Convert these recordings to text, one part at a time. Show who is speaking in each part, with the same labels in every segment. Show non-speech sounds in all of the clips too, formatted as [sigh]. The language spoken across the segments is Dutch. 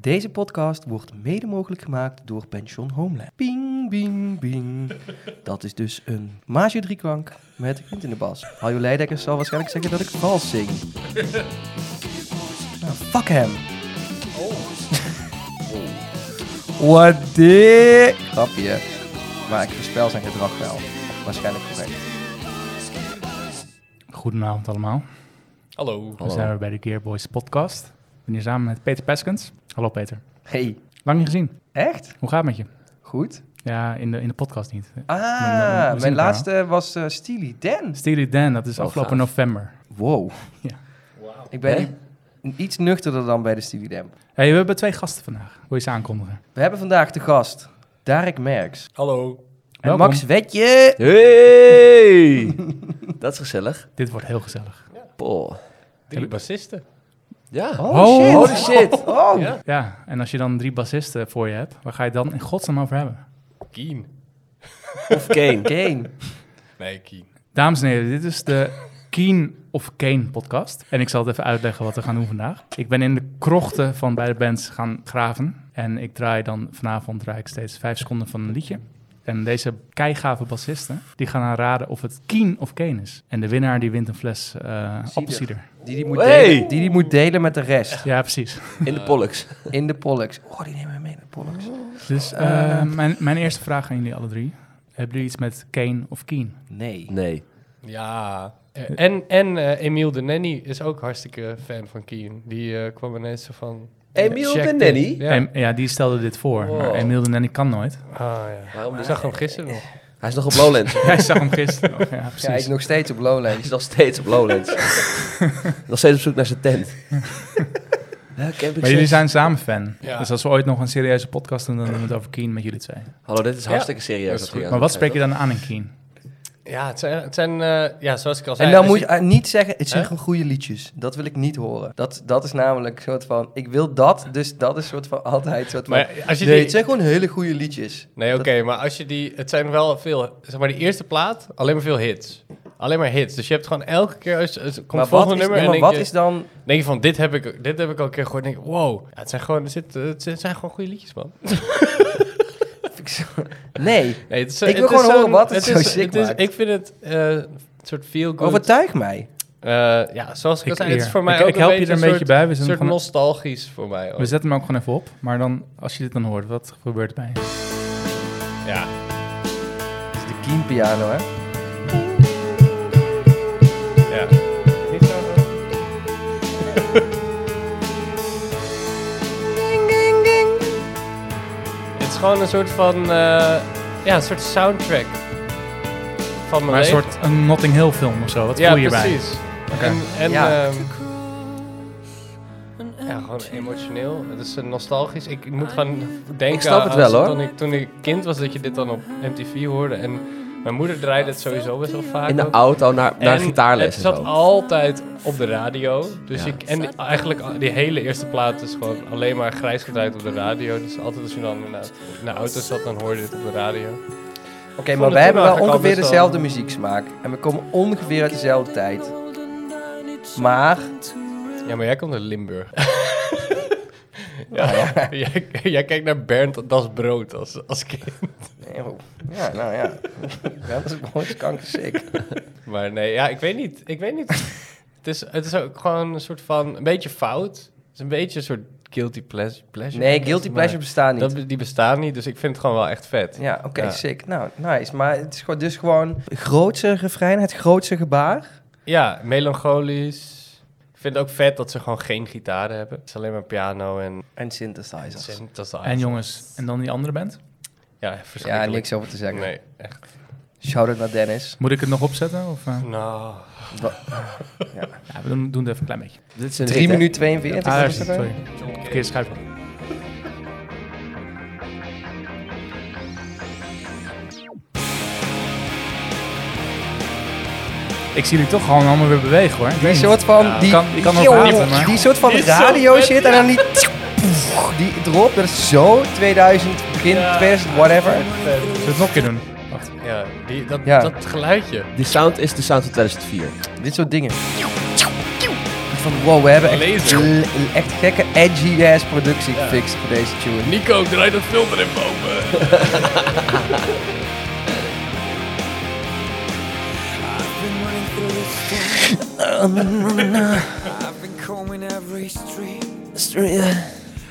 Speaker 1: Deze podcast wordt mede mogelijk gemaakt door Pension Homeland. Bing, bing, bing. Dat is dus een mage drieklank met kind in de bas. Haljo Leidekkers zal waarschijnlijk zeggen dat ik vals zing. Nou, fuck hem.
Speaker 2: Oh.
Speaker 1: Wat dit? Grapje. Maar ik voorspel zijn gedrag wel. Waarschijnlijk correct.
Speaker 2: Goedenavond allemaal.
Speaker 3: Hallo.
Speaker 2: We zijn weer bij de Gearboys podcast. Ik ben hier samen met Peter Peskens. Hallo Peter.
Speaker 1: Hey,
Speaker 2: Lang niet gezien.
Speaker 1: echt?
Speaker 2: Hoe gaat het met je?
Speaker 1: Goed?
Speaker 2: Ja, in de, in de podcast niet. Nou, we zien
Speaker 1: Ah, mijn
Speaker 2: elkaar.
Speaker 1: laatste was eh Steely Dan.
Speaker 2: Steely Dan, dat is
Speaker 3: Oh,
Speaker 2: afgelopen
Speaker 3: gaaf.
Speaker 2: november.
Speaker 1: Wow.
Speaker 4: [laughs]
Speaker 2: Ja.
Speaker 1: Ik ben
Speaker 3: Hè?
Speaker 1: i- iets nuchterder dan bij de Steely Dan.
Speaker 2: Hey, we hebben twee gasten vandaag. Wil je ze aankondigen?
Speaker 1: We hebben vandaag de gast Darek Merks.
Speaker 3: Hallo.
Speaker 1: En
Speaker 2: Welkom.
Speaker 1: Max Wetje. [laughs]
Speaker 4: Hey! dat is gezellig. Oh.
Speaker 2: Dit wordt heel gezellig.
Speaker 4: Poh.
Speaker 3: Drie bassisten.
Speaker 4: Ja.
Speaker 1: Oh,
Speaker 2: Oh,
Speaker 1: shit.
Speaker 4: Holy shit.
Speaker 1: [laughs] Oh.
Speaker 3: Ja.
Speaker 2: Ja, en als je dan drie bassisten voor je hebt, waar ga je het dan in godsnaam over hebben?
Speaker 3: Keen.
Speaker 4: Of Kane.
Speaker 1: Kane.
Speaker 3: Nee, Keen.
Speaker 2: Dames en heren, dit is de Keen of Kane podcast. En ik zal het even uitleggen wat we gaan doen vandaag. Ik ben in de krochten van beide bands gaan graven. En ik draai dan vanavond draai ik steeds vijf seconden van een liedje. En deze keigave bassisten, die gaan aan raden of het Keen of Kane is. En de winnaar die wint een fles eh appelsieder.
Speaker 1: Die die, moet
Speaker 4: Hey.
Speaker 1: delen, die die moet delen met de rest.
Speaker 2: Ja, precies.
Speaker 4: In de Pollux.
Speaker 1: In de Pollux. Oh, die nemen we mee naar de Pollux.
Speaker 2: Dus eh, mijn, mijn eerste vraag aan jullie alle drie. Hebben jullie iets met Kane of Keen?
Speaker 1: Nee.
Speaker 4: Nee.
Speaker 3: Ja. Eh, En, en eh, Emiel de Nanny is ook hartstikke fan van Keen. Die eh, kwam ineens zo van...
Speaker 4: Emiel
Speaker 3: check
Speaker 4: de
Speaker 3: dit.
Speaker 4: Nanny?
Speaker 3: Ja.
Speaker 2: En, ja, die stelde dit voor.
Speaker 4: Wow.
Speaker 2: Maar Emiel de Nanny kan nooit.
Speaker 3: Ah, ja.
Speaker 4: Waarom
Speaker 3: Ik
Speaker 4: niet?
Speaker 3: zag hem gisteren
Speaker 2: [laughs]
Speaker 3: nog.
Speaker 4: Hij is nog op Lowlands.
Speaker 2: Jij zag hem gisteren. nog. Ja, precies.
Speaker 1: Ja, ik nog steeds op
Speaker 4: Hij
Speaker 1: Lowlands.
Speaker 4: is nog steeds op
Speaker 1: [laughs]
Speaker 4: Lowlands. nog steeds op zoek naar zijn tent. Welk heb ik
Speaker 2: Maar jullie
Speaker 4: zin?
Speaker 2: zijn samen fan.
Speaker 3: Ja.
Speaker 2: Dus als we ooit nog een serieuze podcast doen, dan doen we het over Keen met jullie twee.
Speaker 4: Hallo, dit is hartstikke
Speaker 3: dat
Speaker 4: serieus.
Speaker 3: is
Speaker 4: wat
Speaker 3: goed.
Speaker 4: we aan
Speaker 2: maar
Speaker 4: het
Speaker 2: wat spreek je
Speaker 4: doen
Speaker 2: dan aan in Keen?
Speaker 3: Ja, het zijn... Het zijn eh, ja, zoals ik al zei...
Speaker 1: En dan
Speaker 3: dus
Speaker 1: moet je
Speaker 3: ik-
Speaker 1: eh, niet zeggen, het zijn
Speaker 3: Hè?
Speaker 1: gewoon goede liedjes. Dat wil ik niet horen. Dat, dat is namelijk een soort van, ik wil dat, dus dat is een soort van altijd een soort van...
Speaker 3: Maar als je
Speaker 1: nee,
Speaker 3: die-
Speaker 1: het zijn gewoon hele goede liedjes.
Speaker 3: Nee, oké, maar als je die... Het zijn wel veel... Zeg maar, die eerste plaat, alleen maar veel hits. Alleen maar hits. Dus je hebt gewoon elke keer... Als, als, komt
Speaker 1: Maar
Speaker 3: het
Speaker 1: wat,
Speaker 3: volgende
Speaker 1: is,
Speaker 3: nummer
Speaker 1: nee,
Speaker 3: en eh,
Speaker 1: maar
Speaker 3: denk
Speaker 1: wat
Speaker 3: je,
Speaker 1: is dan...
Speaker 3: denk je van... Dit heb ik, dit heb ik al een keer gehoord. denk ik, wow. Ja, het, zijn gewoon, er zit, eh, het zijn gewoon goede liedjes, man. [laughs]
Speaker 1: Nee,
Speaker 3: Nee, het is,
Speaker 1: Ik wil gewoon
Speaker 3: zo'n-
Speaker 1: horen wat het zo
Speaker 3: is,
Speaker 1: sick
Speaker 3: het is-
Speaker 1: maakt.
Speaker 3: Ik vind het eh, een soort feel good.
Speaker 1: overtuig mij.
Speaker 3: Eh, ja, zoals ik, al
Speaker 2: Ik
Speaker 3: zei, het
Speaker 2: eer.
Speaker 3: is voor mij
Speaker 2: Ik-
Speaker 3: ook
Speaker 2: ik help je
Speaker 3: beetje
Speaker 2: er een beetje
Speaker 3: soort-
Speaker 2: bij. We zijn
Speaker 3: soort
Speaker 2: gewoon-
Speaker 3: nostalgisch voor mij. ook.
Speaker 2: We zetten hem ook gewoon even op. Maar dan, als je dit dan hoort, wat gebeurt er bij je?
Speaker 3: Ja.
Speaker 1: Het is de Keen piano, hè.
Speaker 3: ja. Niet zo, eh, [laughs] Het is gewoon een soort van... eh, ja, een soort soundtrack van mijn
Speaker 2: Maar een
Speaker 3: leven.
Speaker 2: soort een Notting Hill film of zo. Wat
Speaker 3: ja,
Speaker 2: voel je hierbij?
Speaker 3: precies. En, en
Speaker 1: Ja.
Speaker 3: ehm, ja, gewoon emotioneel. Het is eh, nostalgisch. Ik moet gewoon denken
Speaker 1: Ik snap het
Speaker 3: aan-
Speaker 1: wel, hoor.
Speaker 3: Toen ik, toen ik kind was, dat je dit dan op MTV hoorde. En mijn moeder draaide het sowieso best wel vaak.
Speaker 4: is. In de
Speaker 3: ook.
Speaker 4: auto naar, naar
Speaker 3: En
Speaker 4: gitaarles en
Speaker 3: Het
Speaker 4: zo.
Speaker 3: zat altijd op de radio. Dus
Speaker 4: Ja.
Speaker 3: ik, en die- eigenlijk al- die hele eerste plaat is gewoon alleen maar grijs gedraaid op de radio. Dus altijd als je dan in de, in de auto zat, dan hoorde je het op de radio.
Speaker 1: Oké, maar
Speaker 3: vond het
Speaker 1: wij
Speaker 3: toen
Speaker 1: hebben wel
Speaker 3: eigenlijk al
Speaker 1: ongeveer
Speaker 3: best wel-
Speaker 1: dezelfde muzieksmaak. En we komen ongeveer uit dezelfde tijd. Maar,
Speaker 3: Ja, maar jij komt uit
Speaker 1: [laughs]
Speaker 3: Limburg. ja, jij, jij kijkt naar Bernd Das Brood als, als kind.
Speaker 1: nee, oh, ja, nou ja. [laughs] dat is mooi kankerziek.
Speaker 3: Maar nee, ja, ik weet niet. Ik weet niet. het, is, het is ook gewoon een soort van... Een beetje fout. Het is een beetje een soort guilty pleas- pleasure.
Speaker 1: Nee, guilty pleasure bestaan niet.
Speaker 3: Dat, die bestaan niet, dus ik vind het gewoon wel echt vet.
Speaker 1: Ja, oké,
Speaker 3: Ja.
Speaker 1: sick. Nou, nice. Maar het is gewoon, dus gewoon grootse refrein, het grootse gebaar.
Speaker 3: Ja, melancholisch. Ik vind het ook vet dat ze gewoon geen gitaren hebben. Het is alleen maar piano en
Speaker 1: En synthesizers.
Speaker 3: synthesizer.
Speaker 2: En jongens, en dan die andere band?
Speaker 3: Ja,
Speaker 1: ja,
Speaker 3: verschrikkelijk.
Speaker 1: niks over te zeggen.
Speaker 3: Nee, echt.
Speaker 1: Shout-out naar Dennis.
Speaker 2: Moet ik het nog opzetten? Of, eh?
Speaker 3: Nou,
Speaker 2: Ja, we doen, doen het even een klein beetje.
Speaker 4: Dit is een
Speaker 1: 3
Speaker 4: hit, hè?
Speaker 1: minuten 42.
Speaker 2: Ah, daar
Speaker 1: was
Speaker 2: is het,
Speaker 1: het er?
Speaker 2: sorry. Verkeerde schuifel. Ik zie jullie toch gewoon allemaal weer bewegen hoor. Ik
Speaker 1: die
Speaker 2: weet niet.
Speaker 1: soort van...
Speaker 3: Ja,
Speaker 1: die,
Speaker 2: kan- kan ook
Speaker 1: Yo,
Speaker 2: haten, maar-
Speaker 1: die soort van
Speaker 3: Dit is zo
Speaker 1: radio
Speaker 3: vet,
Speaker 1: shit en dan die... Die erop, dat is zo 2000, begin
Speaker 3: Ja.
Speaker 1: 2000, whatever.
Speaker 2: Zullen we het nog een keer doen? Wacht.
Speaker 3: ja, die, dat,
Speaker 1: Ja.
Speaker 3: dat geluidje.
Speaker 4: Die sound is de sound van 2004.
Speaker 1: Dit soort dingen. van wow, we hebben echt,
Speaker 3: Laser.
Speaker 1: l- echt gekke edgy ass productie gefixt voor deze tune.
Speaker 3: Nico, draai dat filter in boven.
Speaker 5: I've been combing every street.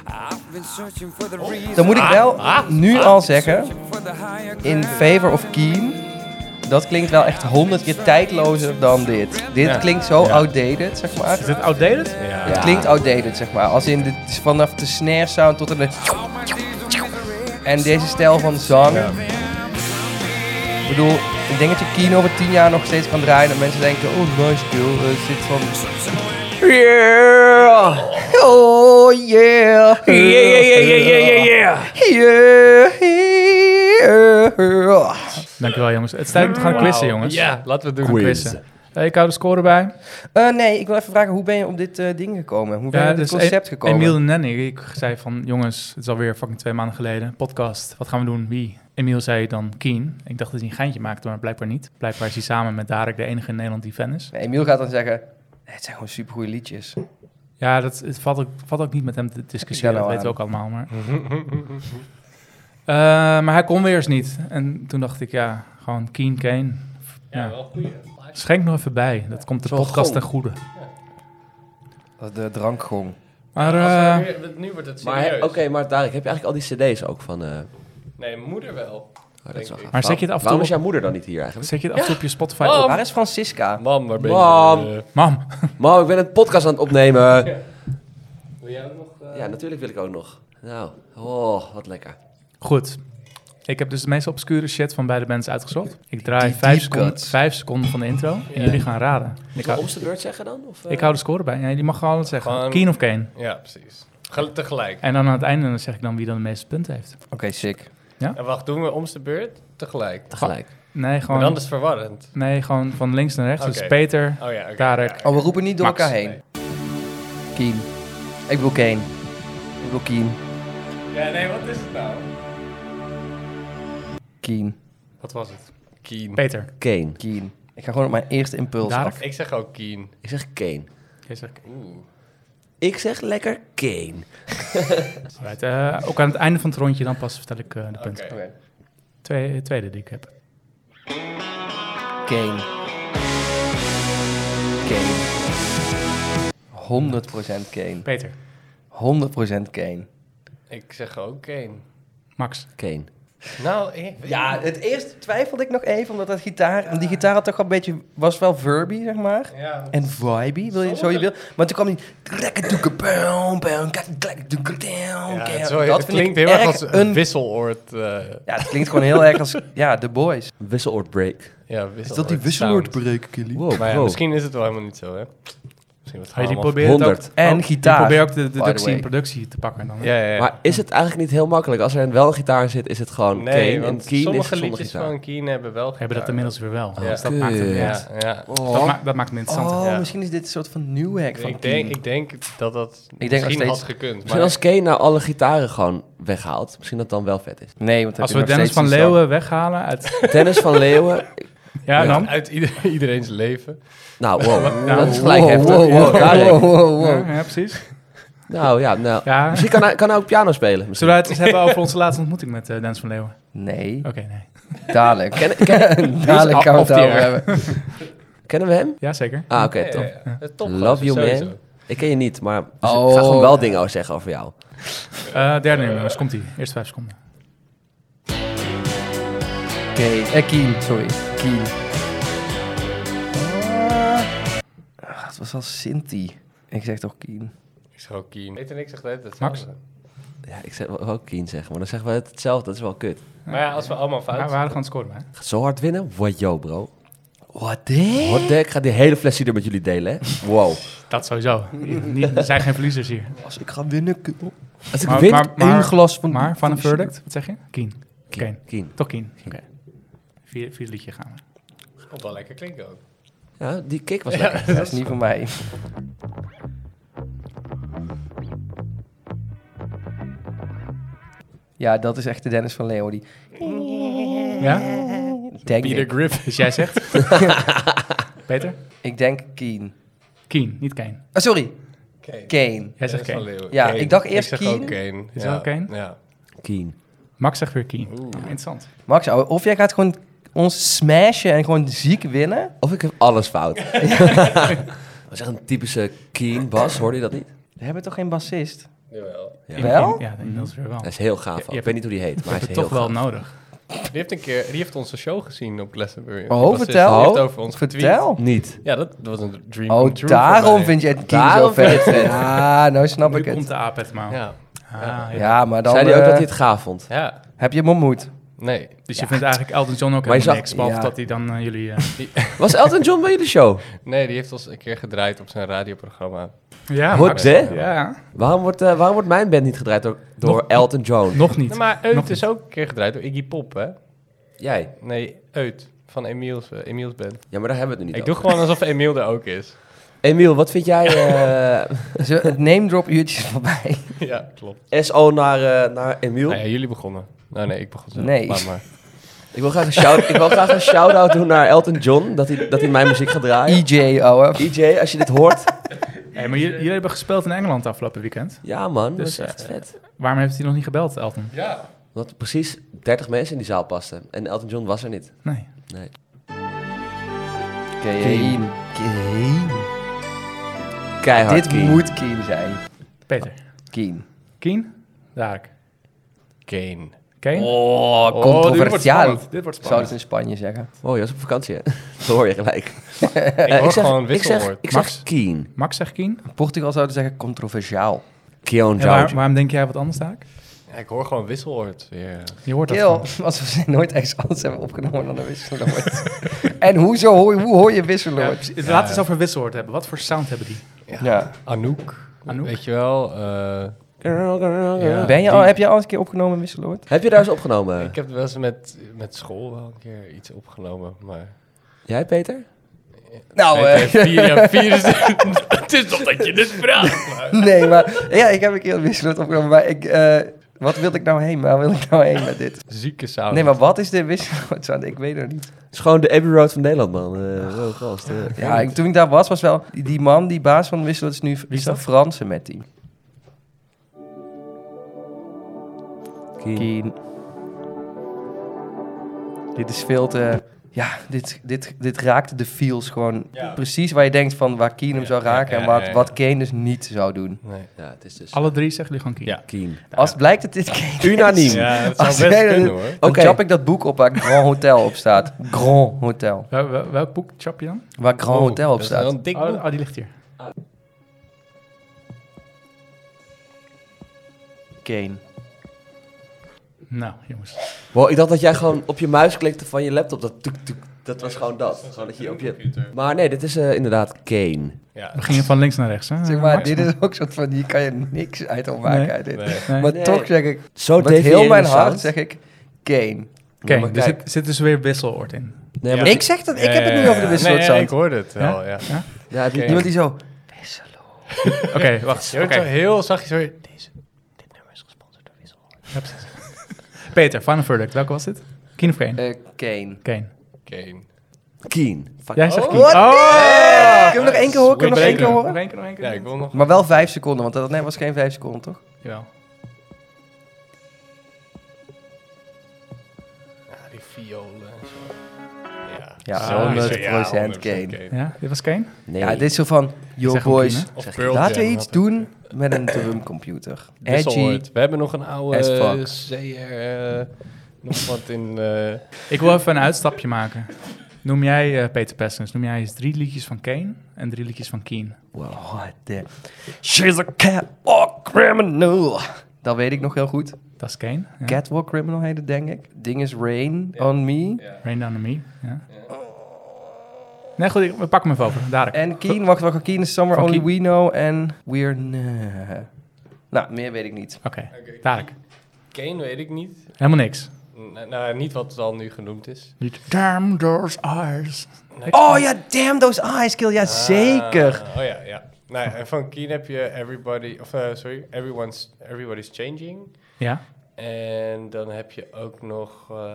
Speaker 5: I've been searching for the reason.
Speaker 1: Dan moet ik wel
Speaker 3: Ah,
Speaker 1: nu al zeggen,
Speaker 5: Searching for the higher
Speaker 1: in
Speaker 5: ground.
Speaker 1: favor of Keen, dat klinkt wel echt honderd keer tijdlozer dan dit. Dit
Speaker 3: Ja.
Speaker 1: klinkt zo
Speaker 3: Ja.
Speaker 1: outdated, zeg maar.
Speaker 2: Is dit outdated?
Speaker 3: Ja.
Speaker 1: Het klinkt outdated, zeg maar. Als in de, vanaf de snare sound tot de...
Speaker 5: All my days of misery.
Speaker 1: En deze stijl van zang.
Speaker 3: Ja.
Speaker 1: Ik bedoel, ik denk dat je Keen over tien jaar nog steeds kan draaien. En mensen denken, oh nice girl, eh, het zit van... Yeah! Oh yeah! Yeah, yeah, yeah, yeah, yeah, yeah! Yeah!
Speaker 2: Dankjewel jongens. Het is tijd om te gaan quizzen jongens.
Speaker 3: Ja, laten we het doen.
Speaker 2: Gaan Quizzen. Eh, ik hou de score bij.
Speaker 1: Eh, nee, ik wil even vragen, hoe ben je op dit eh, ding gekomen? Hoe ben je op dit
Speaker 2: dus
Speaker 1: concept
Speaker 2: E-
Speaker 1: gekomen?
Speaker 2: Emiel en Nanny, ik zei van jongens, het is alweer fucking twee maanden geleden. Podcast, wat gaan we doen? Wie? Emiel zei dan Keen. Ik dacht dat hij een geintje maakte, maar blijkbaar niet. Blijkbaar is hij samen met Darek de enige in Nederland die fan is.
Speaker 1: Nee, Emiel gaat dan zeggen, "Nee, het zijn gewoon supergoeie liedjes.
Speaker 2: Ja, dat het valt, ook, valt ook niet met hem te discussiëren.
Speaker 1: Ik ben
Speaker 2: Dat
Speaker 1: al
Speaker 2: weten
Speaker 1: aan.
Speaker 2: we ook allemaal. Maar. [laughs] Eh, maar hij kon weer eens niet. En toen dacht ik, ja, gewoon Keen Kane. Ja, wel
Speaker 3: Eh,
Speaker 2: Schenk nog even bij. Dat komt de
Speaker 4: Zo'n
Speaker 2: podcast
Speaker 4: gong.
Speaker 2: ten goede.
Speaker 1: Dat is de drankgong.
Speaker 2: Maar eh,
Speaker 3: Als we nu- nu wordt het
Speaker 4: Maar
Speaker 3: serieus.
Speaker 4: oké, maar Tarek, heb je eigenlijk al die cd's ook van... eh, oh,
Speaker 3: Nee, moeder wel.
Speaker 4: dat
Speaker 3: Denk
Speaker 4: is wel
Speaker 3: ik.
Speaker 4: gaaf.
Speaker 2: Maar zet je het af en toe
Speaker 4: Waarom
Speaker 2: op-
Speaker 4: is jouw moeder dan niet hier eigenlijk?
Speaker 2: zet je het af en toe op je Spotify
Speaker 3: Oh.
Speaker 2: op?
Speaker 1: Waar is Francisca?
Speaker 3: Mam, waar ben
Speaker 4: Mam.
Speaker 3: je? Eh,
Speaker 2: Mam,
Speaker 4: Mam, ik ben een podcast aan het opnemen.
Speaker 3: [laughs] wil jij ook nog... eh,
Speaker 4: Ja, natuurlijk wil ik ook nog. Nou, oh, wat lekker.
Speaker 2: Goed. Ik heb dus de meest obscure shit van beide bands uitgezocht. Ik draai vijf
Speaker 1: deep
Speaker 2: seconden,
Speaker 1: cuts.
Speaker 2: vijf seconden van de intro. En jullie gaan raden. Ik
Speaker 4: Moeten we
Speaker 2: hou,
Speaker 4: ons de beurt zeggen dan? Of, eh?
Speaker 2: ik hou de score bij. Ja, die mag gewoon zeggen.
Speaker 3: Gewoon-
Speaker 2: Keen of Kane.
Speaker 3: Ja, precies. Gel- Tegelijk.
Speaker 2: En dan aan het einde dan zeg ik dan wie dan de meeste punten heeft.
Speaker 1: Oké, sick.
Speaker 3: En wacht, doen we omste beurt? Tegelijk.
Speaker 4: Tegelijk.
Speaker 2: Nee,
Speaker 3: Maar dan
Speaker 2: gewoon,
Speaker 3: is het verwarrend.
Speaker 2: nee, gewoon van links naar rechts. Dus
Speaker 3: Oké.
Speaker 2: Peter,
Speaker 3: Oh ja, oké.
Speaker 2: Tarek.
Speaker 1: Oh, we roepen niet door
Speaker 2: Max.
Speaker 1: elkaar heen. Keen. Ik wil Keen. Ik wil Keen.
Speaker 3: Ja, nee, wat is het nou?
Speaker 1: Keen.
Speaker 3: Wat was het? Keen.
Speaker 2: Peter.
Speaker 4: Kane.
Speaker 1: Keen. Ik ga gewoon op mijn eerste impuls
Speaker 2: Dark.
Speaker 1: af.
Speaker 3: Ik zeg ook Keen.
Speaker 4: Ik zeg Kane.
Speaker 2: Jij zegt
Speaker 3: Oeh.
Speaker 4: Ik zeg lekker Kane.
Speaker 2: Alright, eh, ook aan het einde van het rondje, dan pas vertel ik eh, de punten.
Speaker 3: Oké.
Speaker 1: Oké.
Speaker 2: Twee, tweede die ik heb.
Speaker 1: Kane. Kane. 100% Kane.
Speaker 2: Peter,
Speaker 1: 100% Kane.
Speaker 3: Ik zeg ook Kane.
Speaker 2: Max.
Speaker 4: Kane.
Speaker 3: Nou, ik weet
Speaker 1: Ja, het eerst twijfelde ik nog even, omdat dat gitaar... En die gitaar had toch al een beetje... Was wel verby, zeg maar.
Speaker 3: niet. Ja.
Speaker 1: En vibey, wil je, zo je wil. Maar toen kwam die... Ja,
Speaker 3: Ja, het, is wel- het klinkt heel erg als een wisseloord. eh,
Speaker 1: Ja, het klinkt gewoon heel erg als... Ja, The Boys.
Speaker 4: Wisseloord break.
Speaker 3: ja, wisseloord
Speaker 1: Is dat die
Speaker 3: sound.
Speaker 1: wisseloordbreuk, Kelly?
Speaker 4: Wow,
Speaker 3: Maar ja,
Speaker 4: wow.
Speaker 3: misschien is het wel helemaal niet zo, hè? Misschien wat
Speaker 2: Hey, die
Speaker 3: allemaal-
Speaker 2: probeert het ook-
Speaker 4: 100.
Speaker 1: En
Speaker 2: oh, die
Speaker 1: gitaar,
Speaker 2: probeert ook de
Speaker 1: the
Speaker 2: deductie en
Speaker 1: way.
Speaker 2: productie te pakken. Dan.
Speaker 3: Ja, ja, ja.
Speaker 4: Maar is het eigenlijk niet heel makkelijk? Als er wel een gitaar in zit, is het gewoon
Speaker 3: nee,
Speaker 4: Kane. En
Speaker 3: want
Speaker 4: Kane is
Speaker 3: sommige
Speaker 4: zonder
Speaker 3: liedjes
Speaker 4: gitaar.
Speaker 3: van Keen hebben wel
Speaker 2: Hebben dat
Speaker 3: gitaar.
Speaker 2: inmiddels weer wel.
Speaker 3: Ja.
Speaker 2: Dus dat maakt het niet
Speaker 4: Kut.
Speaker 2: uit.
Speaker 3: Ja, ja.
Speaker 2: Dat,
Speaker 4: Oh.
Speaker 2: ma- dat maakt het interessanter.
Speaker 1: Oh,
Speaker 3: Ja.
Speaker 1: misschien is dit een soort van new hack van
Speaker 3: Ik denk,
Speaker 1: Keen.
Speaker 3: ik denk dat dat
Speaker 1: denk nog
Speaker 3: misschien
Speaker 1: steeds-
Speaker 3: had gekund. Maar
Speaker 4: Misschien als Kane nou alle gitaren gewoon weghaalt. Misschien dat dan wel vet is.
Speaker 1: Nee, want dan
Speaker 2: Als
Speaker 1: heb
Speaker 2: we
Speaker 1: je nog
Speaker 2: Dennis
Speaker 1: steeds
Speaker 2: van
Speaker 1: die
Speaker 2: Leeuwen weghalen uit...
Speaker 4: Dennis van Leeuwen.
Speaker 2: Ja, dan?
Speaker 3: [laughs] uit ieder- iedereen's leven.
Speaker 4: Nou, wow.
Speaker 2: Ja.
Speaker 4: Dat is
Speaker 1: zang.
Speaker 4: gelijk heftig.
Speaker 1: Wow, wow,
Speaker 4: Tarek.
Speaker 1: wow, wow, wow.
Speaker 2: Ja, ja, precies.
Speaker 4: Nou ja, nou.
Speaker 2: Ja.
Speaker 4: Misschien kan hij, kan hij ook piano spelen. Misschien.
Speaker 2: Zullen we het eens hebben over onze laatste ontmoeting met eh, Dennis van Leeuwen?
Speaker 1: Nee,
Speaker 2: Oké, nee.
Speaker 1: dadelijk.
Speaker 4: Ken- ken-
Speaker 1: [laughs] dadelijk gaan we
Speaker 2: off
Speaker 1: het
Speaker 2: the
Speaker 1: over
Speaker 2: air.
Speaker 1: hebben.
Speaker 4: kennen we hem?
Speaker 2: Jazeker.
Speaker 4: Ah, oké,
Speaker 3: Ja,
Speaker 4: top.
Speaker 3: ja, ja. Top
Speaker 4: Love you,
Speaker 3: sowieso.
Speaker 4: man. Ik ken je niet, maar dus
Speaker 1: Oh.
Speaker 4: ik ga gewoon wel dingen over zeggen over jou.
Speaker 2: Eh, derde nummer, dus komt ie. Eerst vijf seconden.
Speaker 1: Oké, eh, Keen, sorry. Keen. Ah, het was al Sinti. Ik zeg toch Keen.
Speaker 3: Ik zeg ook Keen. Peter en ik zeggen dat het
Speaker 2: Max?
Speaker 3: hetzelfde.
Speaker 4: Ja, ik zeg wil ook Keen zeggen, maar dan zeggen we het hetzelfde. Dat is wel kut.
Speaker 3: Maar ja, als we allemaal
Speaker 2: Maar
Speaker 3: fout
Speaker 2: we waren gewoon scoren, hè?
Speaker 4: Gaat Zo hard winnen? Wow, yo, bro.
Speaker 1: What
Speaker 4: Hot ik ga die hele fles hier met jullie delen, hè? Wow.
Speaker 2: Dat sowieso. Niet- er zijn geen verliezers hier.
Speaker 1: Als ik ga winnen, Oh, kerel.
Speaker 4: Als ik
Speaker 2: Maar-
Speaker 4: win...
Speaker 2: maar-
Speaker 1: Eén glas van...
Speaker 2: Maar, van een verdict, wat zeg je? Keen.
Speaker 4: Keen.
Speaker 2: Keen.
Speaker 4: Keen.
Speaker 2: Toch Keen. Oké. Vier, vier liedje gaan we.
Speaker 3: Komt wel lekker klinken ook.
Speaker 4: Ja, die kick was lekker.
Speaker 1: Dat is niet van mij. Ja, dat is echt de Dennis van Leeuwen. Die
Speaker 2: Ja?
Speaker 1: denk
Speaker 3: Peter
Speaker 1: ik.
Speaker 2: [laughs]
Speaker 3: Griffin.
Speaker 2: Dus jij zegt? Peter?
Speaker 1: ik denk Keen.
Speaker 2: Keen, niet Kane.
Speaker 1: Ah, sorry.
Speaker 3: Kane.
Speaker 1: Kane.
Speaker 2: Jij zegt Kane.
Speaker 1: Ja, ik dacht eerst
Speaker 3: ik zeg
Speaker 1: Keane.
Speaker 3: ook Kane.
Speaker 2: Is
Speaker 3: ja.
Speaker 2: ook Kane?
Speaker 3: Ja.
Speaker 4: Keen.
Speaker 2: Max zegt weer Keen. Ja, interessant.
Speaker 1: Max, ouwe, of jij gaat gewoon ons smashen en gewoon ziek winnen.
Speaker 4: Of ik heb alles
Speaker 1: [laughs]
Speaker 4: fout. dat is echt een typische Keen Bas, hoorde je dat niet?
Speaker 1: We hebben toch geen bassist?
Speaker 3: Jawel.
Speaker 4: Ja.
Speaker 1: Wel?
Speaker 2: Ja, inmiddels weer wel.
Speaker 4: Hij is heel gaaf.
Speaker 2: Je-
Speaker 4: ook.
Speaker 2: je
Speaker 4: ik weet niet hoe die heet, maar hij
Speaker 2: Dat
Speaker 4: is
Speaker 2: is
Speaker 4: heel
Speaker 2: toch wel
Speaker 4: gaaf.
Speaker 2: nodig.
Speaker 3: Die heeft een keer, die heeft onze show gezien op Glastonbury.
Speaker 1: Oh,
Speaker 3: Die bassist,
Speaker 1: vertel.
Speaker 3: Die heeft over ons getweet.
Speaker 1: Vertel.
Speaker 4: Niet.
Speaker 3: Ja, dat was een dream come
Speaker 1: Oh,
Speaker 3: true voor
Speaker 1: daarom
Speaker 3: mij.
Speaker 1: vind je het Keen zo
Speaker 4: Daarom
Speaker 1: vet. Ja, nou snap
Speaker 2: Nu
Speaker 1: ik
Speaker 2: komt
Speaker 1: het.
Speaker 2: de aap het maar.
Speaker 3: Ja.
Speaker 2: Ah, ja.
Speaker 1: Ja, maar dan
Speaker 4: Zei hij ook
Speaker 1: eh,
Speaker 4: dat hij het gaaf vond?
Speaker 3: Ja.
Speaker 1: heb je moed.
Speaker 3: Nee.
Speaker 2: Dus je vindt eigenlijk Elton John ook
Speaker 4: Maar je
Speaker 2: helemaal
Speaker 4: zag-
Speaker 2: niks, behalve
Speaker 1: ja.
Speaker 2: dat hij dan eh, jullie... eh,
Speaker 4: Was Elton John bij jullie show?
Speaker 3: Nee, die heeft ons een keer gedraaid op zijn radioprogramma.
Speaker 2: ja,
Speaker 4: Wat,
Speaker 2: Max.
Speaker 4: hè?
Speaker 2: Ja,
Speaker 4: Waarom wordt, eh, waarom wordt mijn band niet gedraaid door, door
Speaker 2: Nog-
Speaker 4: Elton John?
Speaker 2: nog niet.
Speaker 3: Nee, maar Eut
Speaker 2: Nog
Speaker 3: is ook een keer gedraaid door Iggy Pop, hè?
Speaker 4: Jij?
Speaker 3: Nee, Eut. Van Emiel's, eh, Emiel's band.
Speaker 4: Ja, maar daar hebben we het nu
Speaker 3: Ik
Speaker 4: niet
Speaker 3: doe gewoon alsof Emiel er ook is.
Speaker 4: Emiel, wat vind jij... eh, [laughs]
Speaker 1: Zo, Het name drop uurtje is voorbij.
Speaker 3: [laughs] ja, klopt.
Speaker 4: SO naar, eh, naar Emiel?
Speaker 3: Nou ja, jullie begonnen. Nou nee, ik begon zelf.
Speaker 1: Nee.
Speaker 3: Laat maar.
Speaker 4: Ik wil graag een shout- ik wil graag een shout-out doen naar Elton John, dat hij, dat hij mijn muziek gaat draaien.
Speaker 1: EJ, ouwe.
Speaker 4: EJ, als je dit hoort.
Speaker 2: Hey, maar jullie, jullie hebben gespeeld in Engeland afgelopen weekend.
Speaker 4: Ja man,
Speaker 2: Dus,
Speaker 4: dat is echt vet.
Speaker 2: Waarom heeft hij nog niet gebeld, Elton?
Speaker 3: Ja.
Speaker 4: Omdat precies 30 mensen in die zaal pasten. En Elton John was er niet.
Speaker 2: Nee.
Speaker 4: Nee.
Speaker 1: Keen. Keen.
Speaker 4: Keihard
Speaker 1: Dit
Speaker 4: Keen.
Speaker 1: moet Keen zijn.
Speaker 2: Peter.
Speaker 1: Keen.
Speaker 2: Keen? Daak.
Speaker 3: Kane.
Speaker 2: Kane?
Speaker 1: Oh,
Speaker 2: Dit wordt
Speaker 1: controversiaal.
Speaker 2: spannend. Dit wordt
Speaker 1: Zou het
Speaker 2: spannend.
Speaker 1: in Spanje zeggen.
Speaker 4: Oh, je was op vakantie hè? [laughs] Dat hoor je gelijk.
Speaker 3: Ik
Speaker 4: Eh,
Speaker 3: hoor
Speaker 4: zeg-
Speaker 3: gewoon
Speaker 4: ik zeg,
Speaker 3: wisselwoord.
Speaker 4: ik zeg
Speaker 2: Max?
Speaker 4: Keen.
Speaker 2: Max zegt Keen.
Speaker 1: In Portugal zouden ze zeggen controversiaal.
Speaker 4: Keon
Speaker 2: En waar-
Speaker 4: George.
Speaker 2: waarom denk jij wat anders, Daak?
Speaker 3: Ja, ik hoor gewoon wisselwoord weer.
Speaker 2: Je hoort dat
Speaker 1: Kill,
Speaker 2: gewoon.
Speaker 1: [laughs] als we ze nooit ergens anders hebben opgenomen dan een wisseloord. [laughs] en hoezo, hoor, hoe hoor je
Speaker 2: Ja,
Speaker 1: wisseloord?
Speaker 2: precies. Laten we het over wisselwoord hebben. Wat voor sound hebben die?
Speaker 1: Ja.
Speaker 3: Anouk.
Speaker 2: Anouk?
Speaker 3: Weet je wel? eh,
Speaker 4: Girl, girl, girl.
Speaker 3: ja,
Speaker 1: Ben je
Speaker 3: die-
Speaker 1: al, heb je al eens een keer opgenomen wisseloord?
Speaker 4: Heb je daar eens opgenomen?
Speaker 3: Ik heb wel eens met, met school wel een keer iets opgenomen, maar...
Speaker 4: Jij Peter?
Speaker 1: Nou,
Speaker 3: Peter, vier, ja, vier is... [laughs] het is toch dat je dit vraagt, maar...
Speaker 1: [laughs] nee, maar ja, ik heb een keer wisseloord opgenomen, maar ik, eh, wat wil ik nou heen? Waar wil ik nou heen met dit?
Speaker 3: Zieke sound.
Speaker 1: Nee, maar wat is de [laughs] wisseloord? sound? Ik weet het niet.
Speaker 4: Het is gewoon de Abbey Road van Nederland man. Eh, wel gast, eh.
Speaker 1: Ja, ik- toen ik daar was, was wel die, die man, die baas van wisseloord is nu Wie
Speaker 2: is dat?
Speaker 1: Fransen met die.
Speaker 4: Keen.
Speaker 1: Keen. Dit is veel te... Ja, dit, dit, dit raakt de feels gewoon
Speaker 3: Ja.
Speaker 1: precies waar je denkt van waar Keen hem
Speaker 3: Ja,
Speaker 1: zou raken
Speaker 3: ja,
Speaker 1: en
Speaker 3: ja,
Speaker 1: wat,
Speaker 3: ja, ja.
Speaker 1: wat Kane dus niet zou doen.
Speaker 3: Nee.
Speaker 4: Ja, het is dus
Speaker 2: Alle drie zeggen jullie gewoon Keen.
Speaker 3: Ja.
Speaker 4: Keen.
Speaker 1: Als het blijkt dat dit Kane is, [laughs]
Speaker 4: Unaniem.
Speaker 3: Ja, dat
Speaker 1: Als
Speaker 3: zou best
Speaker 1: jij dat-
Speaker 3: kunnen, hoor.
Speaker 1: dan
Speaker 4: Oké.
Speaker 1: chap ik dat boek op waar Grand Hotel op
Speaker 3: [laughs]
Speaker 1: staat. Grand Hotel.
Speaker 2: Wel- wel- welk boek chap je dan?
Speaker 1: Waar Grand
Speaker 3: Oh,
Speaker 1: Hotel op
Speaker 3: dat is wel
Speaker 1: staat.
Speaker 3: een dik
Speaker 2: Oh,
Speaker 3: boek.
Speaker 2: oh, die ligt hier.
Speaker 1: Kane.
Speaker 2: Nou, jongens.
Speaker 4: Wow, ik dacht dat jij gewoon op je muis klikte van je laptop. Dat, tuk, tuk, dat was gewoon dat. Gewoon dat je op je... Maar nee, dit is eh, inderdaad Kane.
Speaker 3: Ja.
Speaker 2: We gingen van links naar rechts, hè?
Speaker 1: Zeg maar,
Speaker 2: Max?
Speaker 1: dit is ook soort van, hier kan je niks uit opmaken
Speaker 2: Nee.
Speaker 1: uit dit.
Speaker 3: Nee.
Speaker 2: Nee.
Speaker 1: Maar
Speaker 4: Nee.
Speaker 1: toch zeg ik,
Speaker 4: Zo
Speaker 1: met heel mijn hart
Speaker 4: hart.
Speaker 1: zeg ik, Kane.
Speaker 2: Oké,
Speaker 4: Ja, maar
Speaker 2: dus
Speaker 4: kijk.
Speaker 2: er zit dus weer wisseloord in.
Speaker 4: Nee, maar
Speaker 3: Ja.
Speaker 1: Ik zeg dat, ik heb het nu over de
Speaker 3: Nee,
Speaker 1: wisseloord
Speaker 3: nee,
Speaker 1: sound.
Speaker 3: ik hoorde het wel, ja.
Speaker 4: ja, het-
Speaker 3: Oké.
Speaker 1: Iemand die zo...
Speaker 2: Oké, wacht.
Speaker 3: Je hoort
Speaker 2: Oké.
Speaker 3: zo heel zachtjes weer... Deze, dit nummer is gesponsord door Wisselwoord.
Speaker 2: Peter, Final Verdict. Welke was dit? Keen of Kane?
Speaker 1: eh, Kane.
Speaker 2: Kane.
Speaker 3: Kane.
Speaker 4: Keen. Fuck.
Speaker 2: Jij zegt
Speaker 3: Oh,
Speaker 2: Keen.
Speaker 1: what?
Speaker 2: Oh!
Speaker 1: Kunnen we nog één keer horen? Kunnen we nog één keer
Speaker 2: Nog
Speaker 1: horen?
Speaker 2: één keer, nog één keer.
Speaker 3: Ja, ik wil nog...
Speaker 1: Maar wel vijf seconden, want dat nee, was geen vijf seconden, toch?
Speaker 2: Jawel.
Speaker 3: Ja, die violen en zo. Ja,
Speaker 1: Ja,
Speaker 3: Zo is het.
Speaker 1: 100%
Speaker 3: Ja, 100%
Speaker 1: Kane.
Speaker 2: Ja, dit was Kane?
Speaker 4: Nee.
Speaker 1: Ja, dit is zo van, yo
Speaker 2: zeg hem
Speaker 1: boys,
Speaker 2: Keen,
Speaker 3: Of
Speaker 4: Zeg,
Speaker 3: Pearl
Speaker 1: laten we
Speaker 3: Jam
Speaker 1: iets
Speaker 3: had het.
Speaker 1: doen met een drumcomputer.
Speaker 3: [laughs]
Speaker 1: Edgy.
Speaker 3: Wisselwoord. We hebben nog een
Speaker 1: As
Speaker 3: oude
Speaker 1: fuck.
Speaker 3: CR... eh, nog wat in... eh,
Speaker 2: Ik wil even een uitstapje maken. Noem jij, eh, Peter Pestens, noem jij eens drie liedjes van Kane en drie liedjes van Keen.
Speaker 1: What the... She's a catwalk criminal. Dat weet ik nog heel goed.
Speaker 2: Dat is Kane. Ja.
Speaker 1: Catwalk criminal heet het, denk ik. Ding is rain on me.
Speaker 2: Rain Down on Me. Ja. Nee, goed, ik, we pakken hem even over. Daar.
Speaker 1: En Keen, wacht, wacht, Keen is Summer
Speaker 2: Van
Speaker 1: Only
Speaker 2: Keen.
Speaker 1: We Know en We're... Nah. Nou, meer weet ik niet.
Speaker 2: Oké, Tarek.
Speaker 3: Kane weet ik niet.
Speaker 2: Helemaal niks.
Speaker 3: N- nou, niet wat het al nu genoemd is.
Speaker 2: Niet Damn those eyes.
Speaker 1: Oh ja, damn those eyes, kill. Ja, zeker.
Speaker 3: Ah, oh ja, ja. Nou, ja, en van Keen heb je Everybody... Of, eh, sorry, everyone's, everybody's Changing.
Speaker 2: Ja.
Speaker 3: En dan heb je ook nog... eh,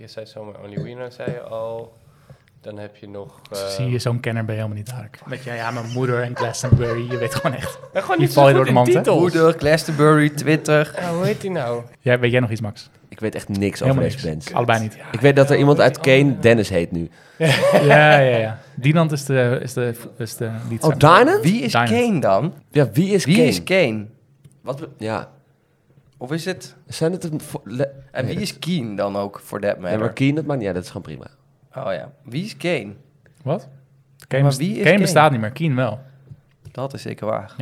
Speaker 3: je zei zomaar Only We Know, zei je al. Dan heb je nog... eh,
Speaker 2: Zie je, zo'n kenner ben je helemaal niet Tarek. Met ja, ja, mijn moeder en Glastonbury, je weet gewoon echt.
Speaker 3: ben gewoon
Speaker 2: je
Speaker 3: niet zo
Speaker 2: val je
Speaker 3: goed
Speaker 2: door de
Speaker 3: in
Speaker 2: mand, hè?
Speaker 3: titels.
Speaker 1: Moeder, Glastonbury, Twitter.
Speaker 3: Ja, hoe heet die nou?
Speaker 2: Jij, weet jij nog iets, Max?
Speaker 4: Ik weet echt niks over
Speaker 2: Helemaal
Speaker 4: deze
Speaker 2: niks.
Speaker 4: bands.
Speaker 2: Allebei [laughs] niet.
Speaker 4: Ik weet dat er iemand uit Kane Dennis heet nu.
Speaker 2: Ja, ja, ja. Dinant is de, is de, is de
Speaker 4: Oh,
Speaker 2: leadzanger.
Speaker 4: Dinah?
Speaker 1: Wie is
Speaker 2: Dinah.
Speaker 1: Kane dan?
Speaker 4: Ja, wie is
Speaker 1: Wie
Speaker 4: Kane?
Speaker 1: is Kane?
Speaker 4: Wat be- ja,
Speaker 1: Of is het...
Speaker 4: zijn het een... vo- le-
Speaker 1: En
Speaker 4: Nee,
Speaker 1: wie is Keen dan ook, voor that
Speaker 4: Nee, maar
Speaker 1: matter?
Speaker 4: Kane, dat maakt niet uit, dat is gewoon prima.
Speaker 1: Oh ja, wie is Kane?
Speaker 2: Wat? Kane,
Speaker 1: Maar
Speaker 2: best-
Speaker 1: wie is
Speaker 2: Kane
Speaker 1: Kane?
Speaker 2: bestaat niet meer, Keen wel.
Speaker 1: Dat is zeker waar.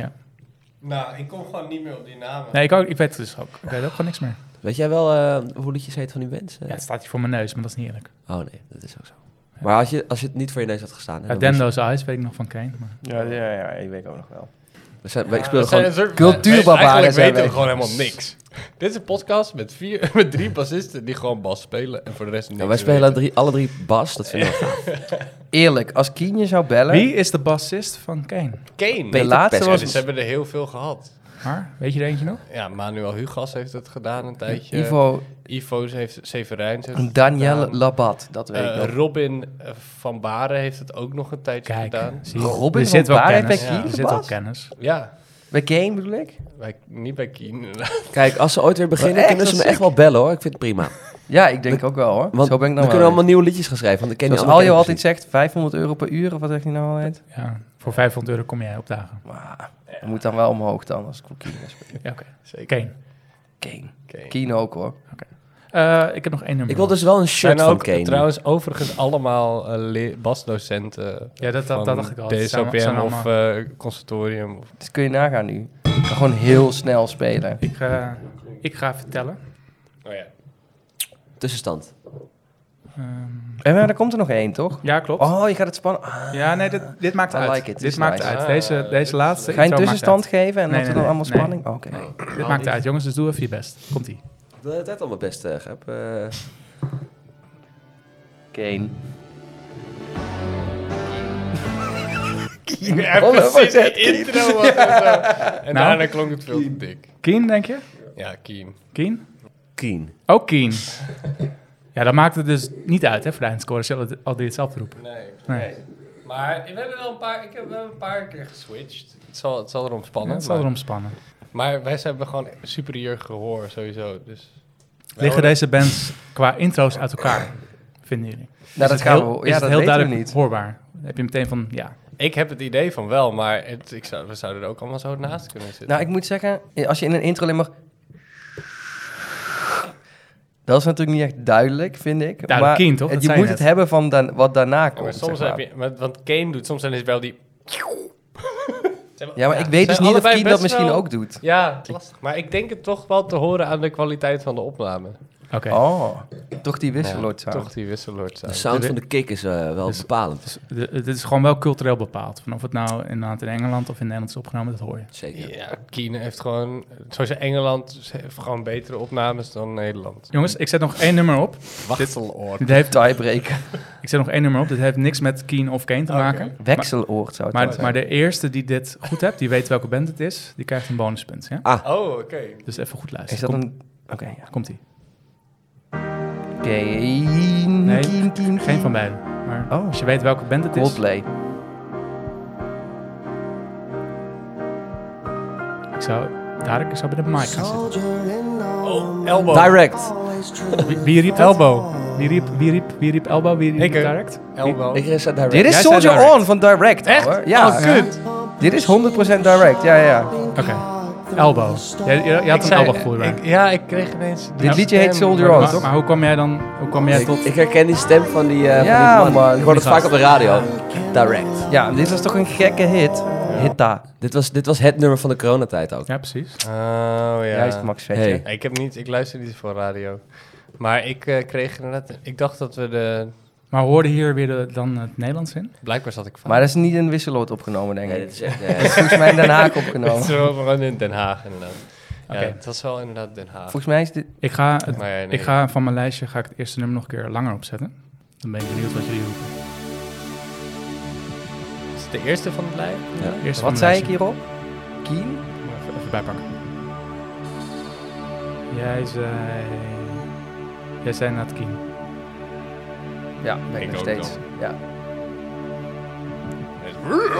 Speaker 3: Nou, ik kom gewoon niet meer op die namen.
Speaker 2: Nee, ik, ook, ik weet het dus ook. Ik weet ook gewoon niks meer.
Speaker 4: Weet jij wel eh, hoe liedjes heet van die bands? eh?
Speaker 2: Ja, het staat hier voor mijn neus, maar dat is niet eerlijk.
Speaker 4: Oh nee, dat is ook zo. Maar als je, als je het niet voor je neus had gestaan... hè,
Speaker 2: Ja,
Speaker 4: dan moest
Speaker 2: Dendo's Eyes weet ik nog van Kane. Maar...
Speaker 1: Ja, ja, ja, ik weet ook nog wel.
Speaker 4: je- we zijn, we speelden gewoon...
Speaker 1: cultuurbarbaren
Speaker 3: Eigenlijk
Speaker 1: zijn
Speaker 3: weten
Speaker 1: wij.
Speaker 3: we gewoon helemaal niks. Dit is een podcast met, vier, [laughs] met drie bassisten die gewoon bas spelen en voor de rest niks.
Speaker 4: Ja, wij spelen drie, alle drie bas, dat vind ik wel gaaf.
Speaker 1: Eerlijk, als Keen je zou bellen...
Speaker 2: Wie is de bassist van Kane?
Speaker 3: Kane.
Speaker 1: De
Speaker 4: Peter
Speaker 1: laatste
Speaker 4: Pest.
Speaker 3: Ja,
Speaker 1: was...
Speaker 3: dus ze hebben er heel veel gehad.
Speaker 2: Maar, weet je er eentje nog?
Speaker 3: Ja, Manuel Hugas heeft het gedaan een tijdje.
Speaker 1: Ivo
Speaker 3: Ivo heeft Severijns heeft het
Speaker 1: Daniel
Speaker 3: gedaan.
Speaker 1: Labat, dat weet ik
Speaker 3: Eh,
Speaker 1: nog.
Speaker 3: Robin eh, van Baren heeft het ook nog een tijdje
Speaker 2: Kijk,
Speaker 3: gedaan.
Speaker 2: zie je.
Speaker 1: Robin
Speaker 2: er
Speaker 1: van
Speaker 2: zit wel
Speaker 1: Baarle
Speaker 2: kennis.
Speaker 1: bij
Speaker 3: Keen
Speaker 2: er
Speaker 1: de
Speaker 2: zit wel
Speaker 1: bas?
Speaker 2: kennis.
Speaker 3: Ja,
Speaker 1: Bij Kane bedoel ik?
Speaker 3: bij- niet bij Keen. [laughs]
Speaker 4: Kijk, als ze ooit weer
Speaker 1: Maar
Speaker 4: beginnen,
Speaker 1: echt,
Speaker 4: kunnen ze
Speaker 1: dat
Speaker 4: me
Speaker 1: is
Speaker 4: echt wel bellen hoor. Ik vind het prima.
Speaker 1: Ja, ik denk ook wel hoor.
Speaker 4: Want
Speaker 1: Zo ben ik
Speaker 4: dan
Speaker 1: nou
Speaker 4: kunnen we allemaal nieuwe liedjes gaan schrijven, want ik ken
Speaker 1: Zoals
Speaker 4: die andere
Speaker 1: Aljo
Speaker 4: kenners
Speaker 1: altijd zegt, 500 euro per uur, of wat zegt hij nou altijd?
Speaker 2: Ja, voor 500 euro kom jij opdagen.
Speaker 1: Maar dat moet dan wel omhoog dan, als ik voor Keen ga spelen.
Speaker 2: Ja, oké.
Speaker 3: Zeker.
Speaker 2: Kane.
Speaker 1: Kane.
Speaker 3: Kane.
Speaker 1: Keen ook hoor.
Speaker 2: Eh, ik heb nog één nummer.
Speaker 4: niet. Ik wil dus wel een shirt
Speaker 3: Zijn
Speaker 4: van
Speaker 3: ook
Speaker 4: Kane.
Speaker 3: trouwens overigens allemaal eh, le- basdocenten. eh,
Speaker 2: Ja, dat, dat, dat dacht ik al. Het zijn-
Speaker 3: DSOPM
Speaker 2: zijn
Speaker 3: of
Speaker 2: allemaal-
Speaker 3: eh conservatorium. Of,
Speaker 1: Dus kun je nagaan nu. Ik kan gewoon heel snel spelen.
Speaker 2: ik, eh, ik ga vertellen.
Speaker 3: oh ja.
Speaker 4: Tussenstand.
Speaker 2: Ehm,
Speaker 1: En Eh, maar er komt er nog één, toch?
Speaker 2: ja, klopt.
Speaker 1: Oh, je gaat het spannen. Ah,
Speaker 2: Ja, nee, dit, dit maakt
Speaker 1: I
Speaker 2: uit.
Speaker 1: like it. This
Speaker 2: dit
Speaker 1: is
Speaker 2: maakt
Speaker 1: nice.
Speaker 2: uit. Deze, deze laatste.
Speaker 1: ga je een
Speaker 2: intro maakt
Speaker 1: tussenstand geven en
Speaker 2: Nee,
Speaker 1: dan
Speaker 2: nee,
Speaker 1: dan allemaal
Speaker 2: nee.
Speaker 1: spanning? Oh, Oké.
Speaker 2: uit. Dit maakt uit, jongens. Dus doe even je best. Komt-ie.
Speaker 4: Ik doe het al mijn best, eh, Gep. Eh,
Speaker 1: Kane. [laughs]
Speaker 3: Ja,
Speaker 1: Hallo,
Speaker 3: precies,
Speaker 1: wat
Speaker 3: die intro was het zo.
Speaker 2: Nou?
Speaker 3: En daarna klonk het veel te dik.
Speaker 2: Keen, denk je?
Speaker 3: Ja, Keen.
Speaker 2: Keen?
Speaker 4: Keen.
Speaker 2: Ook Keen. Ja, dat maakt het dus niet uit, hè, voor de eindscore. Ze zullen het- al die hetzelfde roepen.
Speaker 3: Nee.
Speaker 2: Nee.
Speaker 3: Maar we hebben wel een paar, ik heb wel een paar keer geswitcht. Het zal, het zal erom
Speaker 2: Ja,
Speaker 3: spannen.
Speaker 2: het zal
Speaker 3: maar,
Speaker 2: erom spannen.
Speaker 3: maar wij hebben gewoon superieur gehoor sowieso. Dus wij
Speaker 2: Liggen
Speaker 3: horen-
Speaker 2: deze bands qua intro's uit elkaar, vinden jullie?
Speaker 1: Nou, dat gaan
Speaker 2: Heel-
Speaker 1: we...
Speaker 2: is
Speaker 1: Ja,
Speaker 2: het
Speaker 1: dat
Speaker 2: heel
Speaker 1: weten we
Speaker 2: duidelijk
Speaker 1: niet.
Speaker 2: hoorbaar? Dan Heb je meteen van, ja.
Speaker 3: Ik heb het idee van wel, maar het, ik zou, we zouden er ook allemaal zo naast kunnen zitten.
Speaker 1: Nou, ik moet zeggen, als je in een intro alleen maar... Dat is natuurlijk niet echt duidelijk, vind ik.
Speaker 2: Duidelijk
Speaker 1: maar
Speaker 2: Keen, toch?
Speaker 1: het-
Speaker 2: Dat
Speaker 1: je
Speaker 2: zei je
Speaker 1: moet het
Speaker 2: net.
Speaker 1: hebben van dan, wat daarna
Speaker 3: Ja,
Speaker 1: komt.
Speaker 3: maar soms
Speaker 1: zeg maar.
Speaker 3: heb je, maar wat Kane doet, soms dan is het wel die.
Speaker 1: Ja, maar ik weet dus
Speaker 3: zijn
Speaker 1: niet of
Speaker 3: allebei
Speaker 1: Keen dat
Speaker 3: best
Speaker 1: misschien
Speaker 3: wel-
Speaker 1: ook doet.
Speaker 3: Ja, het is lastig. Maar ik denk het toch wel te horen aan de kwaliteit van de opname.
Speaker 2: Oké.
Speaker 1: Oh, toch die wisselord
Speaker 3: Ja, Toch die wisselord
Speaker 4: De
Speaker 3: sound.
Speaker 4: sound van de kick is eh, wel
Speaker 2: Dus-
Speaker 4: bepalend.
Speaker 2: Dus de- het is gewoon wel cultureel bepaald. Van of het nou inderdaad in Engeland of in Nederland is opgenomen, dat hoor je.
Speaker 4: Zeker.
Speaker 3: Ja, Kine heeft gewoon, zoals in Engeland, ze heeft gewoon betere opnames dan Nederland.
Speaker 2: Jongens, ik zet nog één nummer op.
Speaker 3: Wachseloor.
Speaker 2: Dit heeft,
Speaker 1: Tiebreaker.
Speaker 2: ik zet nog één nummer op. Dit heeft niks met Keen of Kane te
Speaker 1: Oh,
Speaker 2: maken.
Speaker 1: Wekseloord zou het dan
Speaker 2: Maar,
Speaker 1: zijn.
Speaker 2: maar de eerste die dit goed hebt, die weet welke band het is, die krijgt een bonuspunt. Ja?
Speaker 3: Oh, oké.
Speaker 2: Dus even goed
Speaker 1: Is
Speaker 2: luisteren.
Speaker 1: dat
Speaker 2: Komt-
Speaker 1: een... Oké, ja.
Speaker 2: Komt ie.
Speaker 1: Kane,
Speaker 2: Nee,
Speaker 1: Keen, Keen,
Speaker 2: Geen
Speaker 1: Keen.
Speaker 2: van beiden. Maar
Speaker 1: Oh.
Speaker 2: als je weet welke band het is.
Speaker 1: Coldplay.
Speaker 2: Ik zou, Tarek, ik zou bij de mic gaan zitten.
Speaker 3: Oh, elbow.
Speaker 4: Direct.
Speaker 2: Wie, wie riep dat?
Speaker 3: Elbow.
Speaker 2: Wie riep, wie riep, wie riep Elbow? Wie riep
Speaker 3: Ik, eh,
Speaker 2: Direct?
Speaker 3: Elbow.
Speaker 4: Ik is direct.
Speaker 1: Dit is
Speaker 2: zei
Speaker 1: Soldier
Speaker 2: Direct.
Speaker 1: On van Direct,
Speaker 3: Echt?
Speaker 1: hoor. Ja,
Speaker 3: Oh, kut.
Speaker 1: dit is 100% Direct, ja, ja.
Speaker 2: Oké. Elbow. Jij, jij- jij had een elbow gevoel bij.
Speaker 3: Ik- Ja, ik kreeg ineens...
Speaker 1: Dit liedje heet Soldier On,
Speaker 2: maar,
Speaker 1: toch?
Speaker 2: maar hoe kwam jij dan hoe kwam jij
Speaker 4: Ik,
Speaker 2: tot...
Speaker 4: ik herken die stem van die, eh
Speaker 1: Ja,
Speaker 4: van die man.
Speaker 1: man.
Speaker 4: Ik hoor het
Speaker 2: Die
Speaker 4: vaak
Speaker 2: gast.
Speaker 4: op de radio. Direct.
Speaker 1: Ja, dit was toch een gekke hit? Hitta.
Speaker 4: Dit was, dit was het nummer van de coronatijd ook.
Speaker 2: Ja, precies.
Speaker 3: Oh, ja.
Speaker 1: Juist, Max Vetje.
Speaker 4: Hey.
Speaker 3: Ik heb niet, ik luister niet voor radio. Maar ik eh, kreeg inderdaad, ik dacht dat we de,
Speaker 2: Maar hoorde hier weer de- dan het Nederlands in?
Speaker 3: blijkbaar zat ik fout.
Speaker 1: Maar dat is niet in Wisseloord opgenomen, denk
Speaker 4: Nee,
Speaker 1: ik.
Speaker 4: dit
Speaker 1: Het
Speaker 4: is [laughs]
Speaker 1: is
Speaker 4: echt... eh,
Speaker 1: [laughs] volgens mij in Den
Speaker 3: [laughs]
Speaker 1: Haag
Speaker 3: Het
Speaker 1: opgenomen.
Speaker 3: is wel gewoon in Den Haag inderdaad.
Speaker 2: Oké.
Speaker 3: Ja, het was wel inderdaad Den Haag.
Speaker 1: Volgens mij is dit...
Speaker 2: Ik ga, het-
Speaker 3: Maar ja, nee.
Speaker 2: ik ga van mijn lijstje ga ik het eerste nummer nog een keer langer opzetten. Dan ben ik benieuwd wat jullie roepen.
Speaker 3: Is het de eerste van het lijf?
Speaker 2: Eerst
Speaker 1: Wat zei ik hierop? Keen?
Speaker 2: Even, even bijpakken. Jij zei... Jij zei Nat Keen.
Speaker 1: Ja, ben ik
Speaker 6: Ik
Speaker 1: nog
Speaker 6: ook
Speaker 1: steeds. Ja. [laughs]
Speaker 5: Who's flying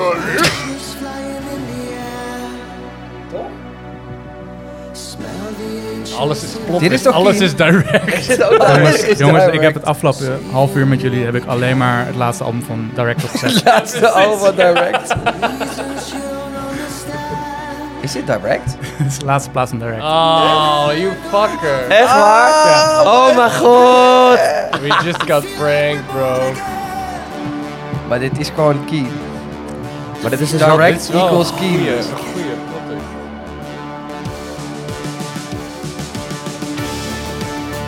Speaker 5: in the air? Smell the ancient
Speaker 3: Alles is plot.
Speaker 1: Dit is toch
Speaker 3: alles
Speaker 1: geen-
Speaker 3: is
Speaker 4: [laughs]
Speaker 3: direct.
Speaker 1: Is het ook
Speaker 2: Jongens,
Speaker 1: Is
Speaker 2: jongens
Speaker 1: daar
Speaker 2: ik
Speaker 1: werk-
Speaker 2: heb het afgelopen half uur met jullie heb ik alleen maar het laatste album van Direct opgezet.
Speaker 4: Laatste
Speaker 1: Oh,
Speaker 4: Alva Direct.
Speaker 5: reasons you don't understand.
Speaker 1: Is dit direct?
Speaker 2: Het is de laatste plaats van Direct.
Speaker 3: Oh, you fucker.
Speaker 4: Echt waar? Oh mijn god.
Speaker 3: We just got pranked, bro.
Speaker 1: Maar dit is gewoon key.
Speaker 4: Maar dit is dus wel-
Speaker 1: Direct equals key.
Speaker 3: Goeie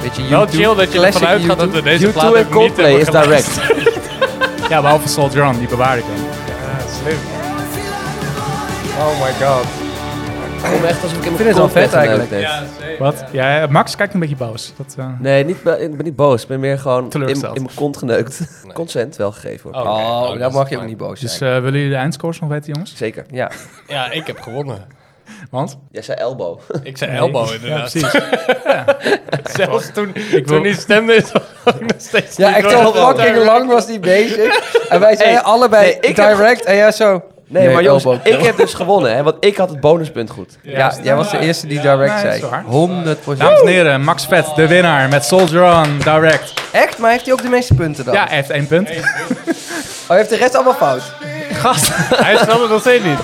Speaker 1: Beetje
Speaker 3: Wel
Speaker 1: YouTube.
Speaker 3: chill dat je
Speaker 1: classic
Speaker 3: ervan uitgaat dat
Speaker 1: YouTube.
Speaker 3: we deze plaat
Speaker 4: YouTube en
Speaker 3: ook niet
Speaker 4: Coldplay
Speaker 3: hebben
Speaker 4: is
Speaker 3: gebruikt.
Speaker 4: direct.
Speaker 2: Ja, behalve Soldier On, die bewaar ik dan.
Speaker 3: Ja, slim. Oh my god.
Speaker 4: Ik voel me echt alsof ik in
Speaker 1: vind
Speaker 4: mijn
Speaker 1: het wel
Speaker 4: kont
Speaker 1: vet
Speaker 4: vet
Speaker 1: eigenlijk.
Speaker 4: eigenlijk.
Speaker 2: Wat? Ja, eh, Max kijkt een beetje boos. Dat, eh,
Speaker 4: Nee, niet, be- ik ben niet boos. Ik ben meer gewoon in,
Speaker 2: Teleurgesteld.
Speaker 4: in mijn kont geneukt. [laughs] Consent wel gegeven hoor.
Speaker 3: Oké,
Speaker 1: Oh,
Speaker 3: dat
Speaker 1: daar
Speaker 3: is
Speaker 1: mag je ook
Speaker 3: fijn.
Speaker 1: niet boos zijn.
Speaker 2: Dus eh, willen jullie de eindscores nog weten, jongens?
Speaker 4: Zeker.
Speaker 1: ja.
Speaker 3: Ja, ik heb gewonnen.
Speaker 2: Want?
Speaker 4: Jij zei elbow. [laughs]
Speaker 3: Ik zei elbow inderdaad.
Speaker 2: Ja, precies.
Speaker 3: Zelfs toen,
Speaker 2: wil-
Speaker 3: toen die stemde is ook nog steeds
Speaker 1: ja,
Speaker 3: niet
Speaker 1: echt
Speaker 3: door.
Speaker 1: al fucking lang was die bezig. En wij zeiden allebei
Speaker 4: nee, ik heb-
Speaker 1: direct en jij zo...
Speaker 4: Nee, maar jongens,
Speaker 1: elbow.
Speaker 4: ik heb [laughs] dus gewonnen, hè, want ik had het bonuspunt goed.
Speaker 1: Ja, jij was de eerste die direct
Speaker 2: nee, dat is
Speaker 1: zei.
Speaker 2: waar.
Speaker 1: 100
Speaker 2: Dames en heren, Max Vet, de winnaar met Soldier On, Direct.
Speaker 1: Echt? Maar heeft hij ook de meeste punten dan?
Speaker 2: Ja, hij heeft één punt.
Speaker 1: Oh, hij heeft de rest allemaal fout?
Speaker 3: Hij snapt het nog steeds niet.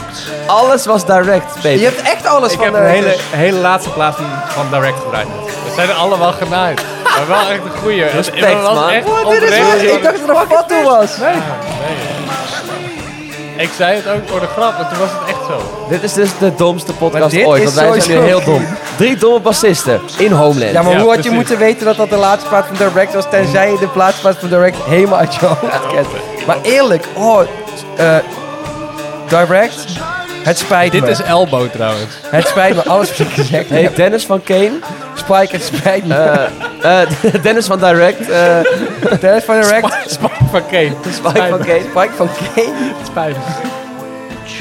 Speaker 4: Alles was direct,
Speaker 1: Je
Speaker 4: Peter.
Speaker 1: hebt echt alles
Speaker 2: Ik
Speaker 1: van
Speaker 2: heb
Speaker 1: de
Speaker 2: de hele, hele laatste plaats van, van Direct gedraaid.
Speaker 3: We zijn er allemaal genaaid. Maar wel echt een goeie. Respect,
Speaker 4: man.
Speaker 3: Echt
Speaker 1: Oh, dit is
Speaker 3: oprecht.
Speaker 1: echt- Ik dacht dat er een vat toe was.
Speaker 3: Ik zei het ook voor de grap, maar toen was het echt zo.
Speaker 4: Dit is dus de domste
Speaker 1: Maar
Speaker 4: podcast
Speaker 1: dit
Speaker 4: ooit,
Speaker 1: is
Speaker 4: want wij zijn
Speaker 1: sowieso-
Speaker 4: nu heel dom. Drie domme bassisten in Homeland.
Speaker 1: Ja, maar
Speaker 3: Ja,
Speaker 1: hoe had je
Speaker 3: precies.
Speaker 1: moeten weten dat dat de laatste plaat van Direct was, tenzij je de laatste plaat van Direct helemaal uit je hoofd kent. Maar eerlijk, oh, eh, Direct, het spijt me.
Speaker 3: elbow trouwens.
Speaker 2: [laughs]
Speaker 1: Het spijt me, alles wat ik gezegd
Speaker 4: Hey,
Speaker 1: heb.
Speaker 4: Dennis van Kane. [laughs]
Speaker 1: Spike, het spijt me.
Speaker 4: Eh, eh, Dennis van Direct. eh,
Speaker 1: Dennis van Direct,
Speaker 3: Spike van Kane.
Speaker 4: Spike van Kane.
Speaker 1: Spike van Kane.
Speaker 2: Spijt.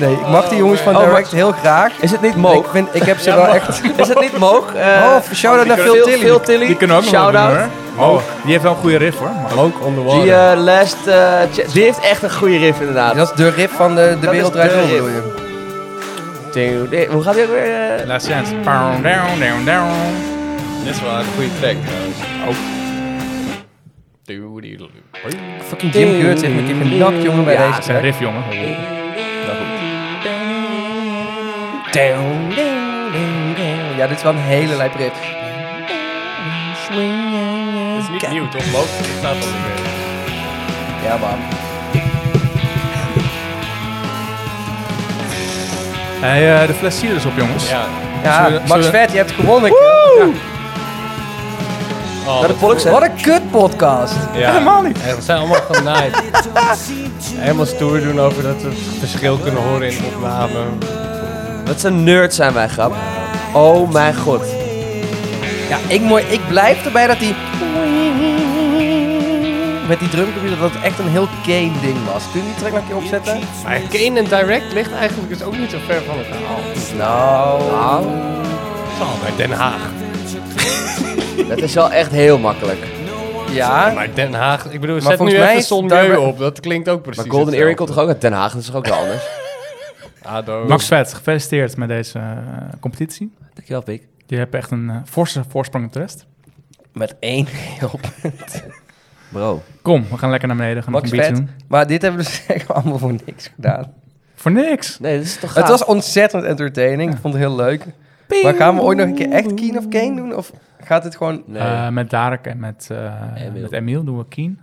Speaker 1: Nee, ik mag die jongens van
Speaker 4: Oh, maar-
Speaker 1: Direct heel graag.
Speaker 4: Is het niet
Speaker 1: Ik,
Speaker 4: Moog?
Speaker 1: vind, ik heb ze wel echt... [laughs]
Speaker 4: Is het niet Moog? Eh,
Speaker 1: Oh, shout-out naar Phil Tilly.
Speaker 4: Phil Tilly.
Speaker 2: Die kunnen ook nog wel
Speaker 4: Shout-out.
Speaker 2: doen, hoor. Oh, die heeft wel een goede riff, hoor. Maar ook on the
Speaker 4: Die, eh, last, eh, ch- die heeft echt een goede riff inderdaad.
Speaker 1: Dat is de rip van de, de
Speaker 4: is
Speaker 1: wereld
Speaker 4: de
Speaker 1: Draait Door,
Speaker 4: riff.
Speaker 1: bedoel je?
Speaker 4: Dude, eh, Hoe gaat die ook weer? eh?
Speaker 2: Last chance. Down, down, down, down.
Speaker 3: Dit is wel een goede track trouwens. Doe-doe-doe.
Speaker 1: Fucking Jim Geurt heeft me een nak, jongen, bij
Speaker 4: Ja,
Speaker 1: deze
Speaker 2: Zijn
Speaker 1: track.
Speaker 2: riff, jongen.
Speaker 1: Ja, dit is wel een hele lijp rip.
Speaker 3: Dit is niet nieuw, toch? Loop, dit staat al niet meer.
Speaker 1: Ja, man.
Speaker 2: Hey, eh, de fles cider is op, jongens.
Speaker 3: Ja.
Speaker 1: Ja,
Speaker 2: Zullen we-
Speaker 1: Ah, Max
Speaker 2: zullen we-
Speaker 1: Vet, je hebt gewonnen.
Speaker 3: Oh,
Speaker 4: Naar de Pollux, hè?
Speaker 1: Wat een kut podcast.
Speaker 3: ja.
Speaker 2: Helemaal niet.
Speaker 3: Ja, we zijn allemaal genaaid. Helemaal stoer doen over dat we het verschil kunnen horen in de opname.
Speaker 4: Wat een nerd zijn wij, grap. Oh mijn god.
Speaker 1: Ja, ik, mooi, ik blijf erbij dat die... Met die drumcomputer, dat het echt een heel Kane ding was. Kun je die track nog een keer opzetten?
Speaker 3: Maar Kane en Direct ligt eigenlijk dus ook niet zo ver van elkaar af.
Speaker 1: Nou...
Speaker 3: Oh, bij Den Haag.
Speaker 4: Dat is wel echt heel makkelijk.
Speaker 1: Ja,
Speaker 3: Maar Den Haag, ik bedoel,
Speaker 1: Maar
Speaker 3: zet nu
Speaker 1: volgens
Speaker 3: even
Speaker 1: mij is
Speaker 3: Son
Speaker 1: daar-
Speaker 3: Jeu op. Dat klinkt ook precies
Speaker 4: Maar Golden Earring komt
Speaker 3: hetzelfde.
Speaker 4: toch ook uit Den Haag? Dat is toch ook wel anders?
Speaker 3: Ado.
Speaker 2: Max Vet, gefeliciteerd met deze eh, competitie.
Speaker 4: Dankjewel, Pik.
Speaker 2: Je hebt echt een eh, forse voorsprong op de rest.
Speaker 1: met één [laughs] heel punt.
Speaker 4: Bro.
Speaker 2: Kom, we gaan lekker naar beneden. Gaan
Speaker 1: Max
Speaker 2: nog een beetje
Speaker 1: Vet.
Speaker 2: doen.
Speaker 1: Maar dit hebben we dus [laughs] echt allemaal voor niks gedaan.
Speaker 2: Voor niks.
Speaker 4: Nee, dat is toch
Speaker 1: Het
Speaker 4: gaaf.
Speaker 1: was ontzettend entertaining. Ik vond het heel leuk. Maar gaan we ooit nog een keer echt Keen of Kane doen? Of gaat dit gewoon...
Speaker 4: Nee.
Speaker 2: Eh, met Darek en met, eh
Speaker 4: Emiel.
Speaker 2: met Emiel doen we Keen.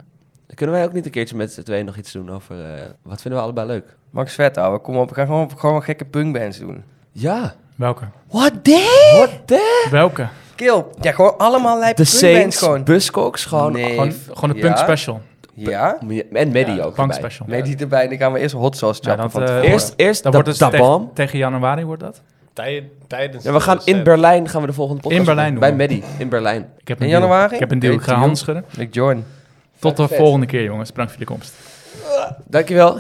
Speaker 4: Kunnen wij ook niet een keertje met z'n tweeën nog iets doen over... eh, wat vinden we allebei leuk?
Speaker 1: Max Vet, ouwe, kom op. We gaan gewoon, gewoon gekke punkbands doen.
Speaker 4: Ja.
Speaker 2: Welke?
Speaker 1: What the?
Speaker 4: What the?
Speaker 2: Welke?
Speaker 1: Kill. Ja, gewoon allemaal lijpe
Speaker 4: The
Speaker 1: punkbands
Speaker 4: Saints,
Speaker 1: gewoon.
Speaker 4: Buzzcocks, gewoon...
Speaker 1: Nee.
Speaker 2: Gewoon, gewoon een punk
Speaker 1: ja.
Speaker 2: special.
Speaker 1: Ja?
Speaker 4: En Medi ook
Speaker 2: Punk
Speaker 4: erbij.
Speaker 2: special.
Speaker 1: Nee, die erbij. Dan gaan we eerst hot sauce
Speaker 2: Ja,
Speaker 1: chappen
Speaker 2: dat,
Speaker 1: van
Speaker 2: eh,
Speaker 1: tevoren.
Speaker 4: Eerst, eerst
Speaker 2: Dat
Speaker 4: da,
Speaker 2: wordt dus
Speaker 4: da
Speaker 2: teg-
Speaker 4: Bomb.
Speaker 2: tegen januari wordt dat.
Speaker 3: Tij- Tijdens
Speaker 4: Ja, we gaan
Speaker 3: de
Speaker 4: in
Speaker 3: set.
Speaker 4: Berlijn gaan we de volgende podcast
Speaker 2: In Berlijn
Speaker 4: doen. Bij
Speaker 2: doen we.
Speaker 4: Medi, in Berlijn.
Speaker 2: Ik heb
Speaker 1: In
Speaker 2: een deal.
Speaker 1: januari?
Speaker 2: Ik heb een deal. Ik
Speaker 1: Weet
Speaker 2: ga
Speaker 1: je,
Speaker 2: handschudden.
Speaker 1: Ik join.
Speaker 2: Tot de
Speaker 4: vet.
Speaker 2: volgende keer, jongens. Bedankt voor jullie komst.
Speaker 4: Dankjewel.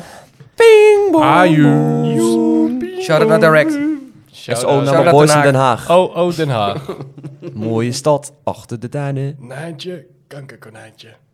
Speaker 4: Ping, bong,
Speaker 2: Aju.
Speaker 1: Shout-out naar Direct.
Speaker 3: Shout-out.
Speaker 4: SO
Speaker 1: Shout-out
Speaker 4: naar mijn boys
Speaker 1: Den
Speaker 4: in Den
Speaker 1: Haag.
Speaker 4: Haag.
Speaker 3: Oh, oh, Den Haag.
Speaker 4: Mooie stad, achter de duinen.
Speaker 3: Nijntje, kankerkonijntje.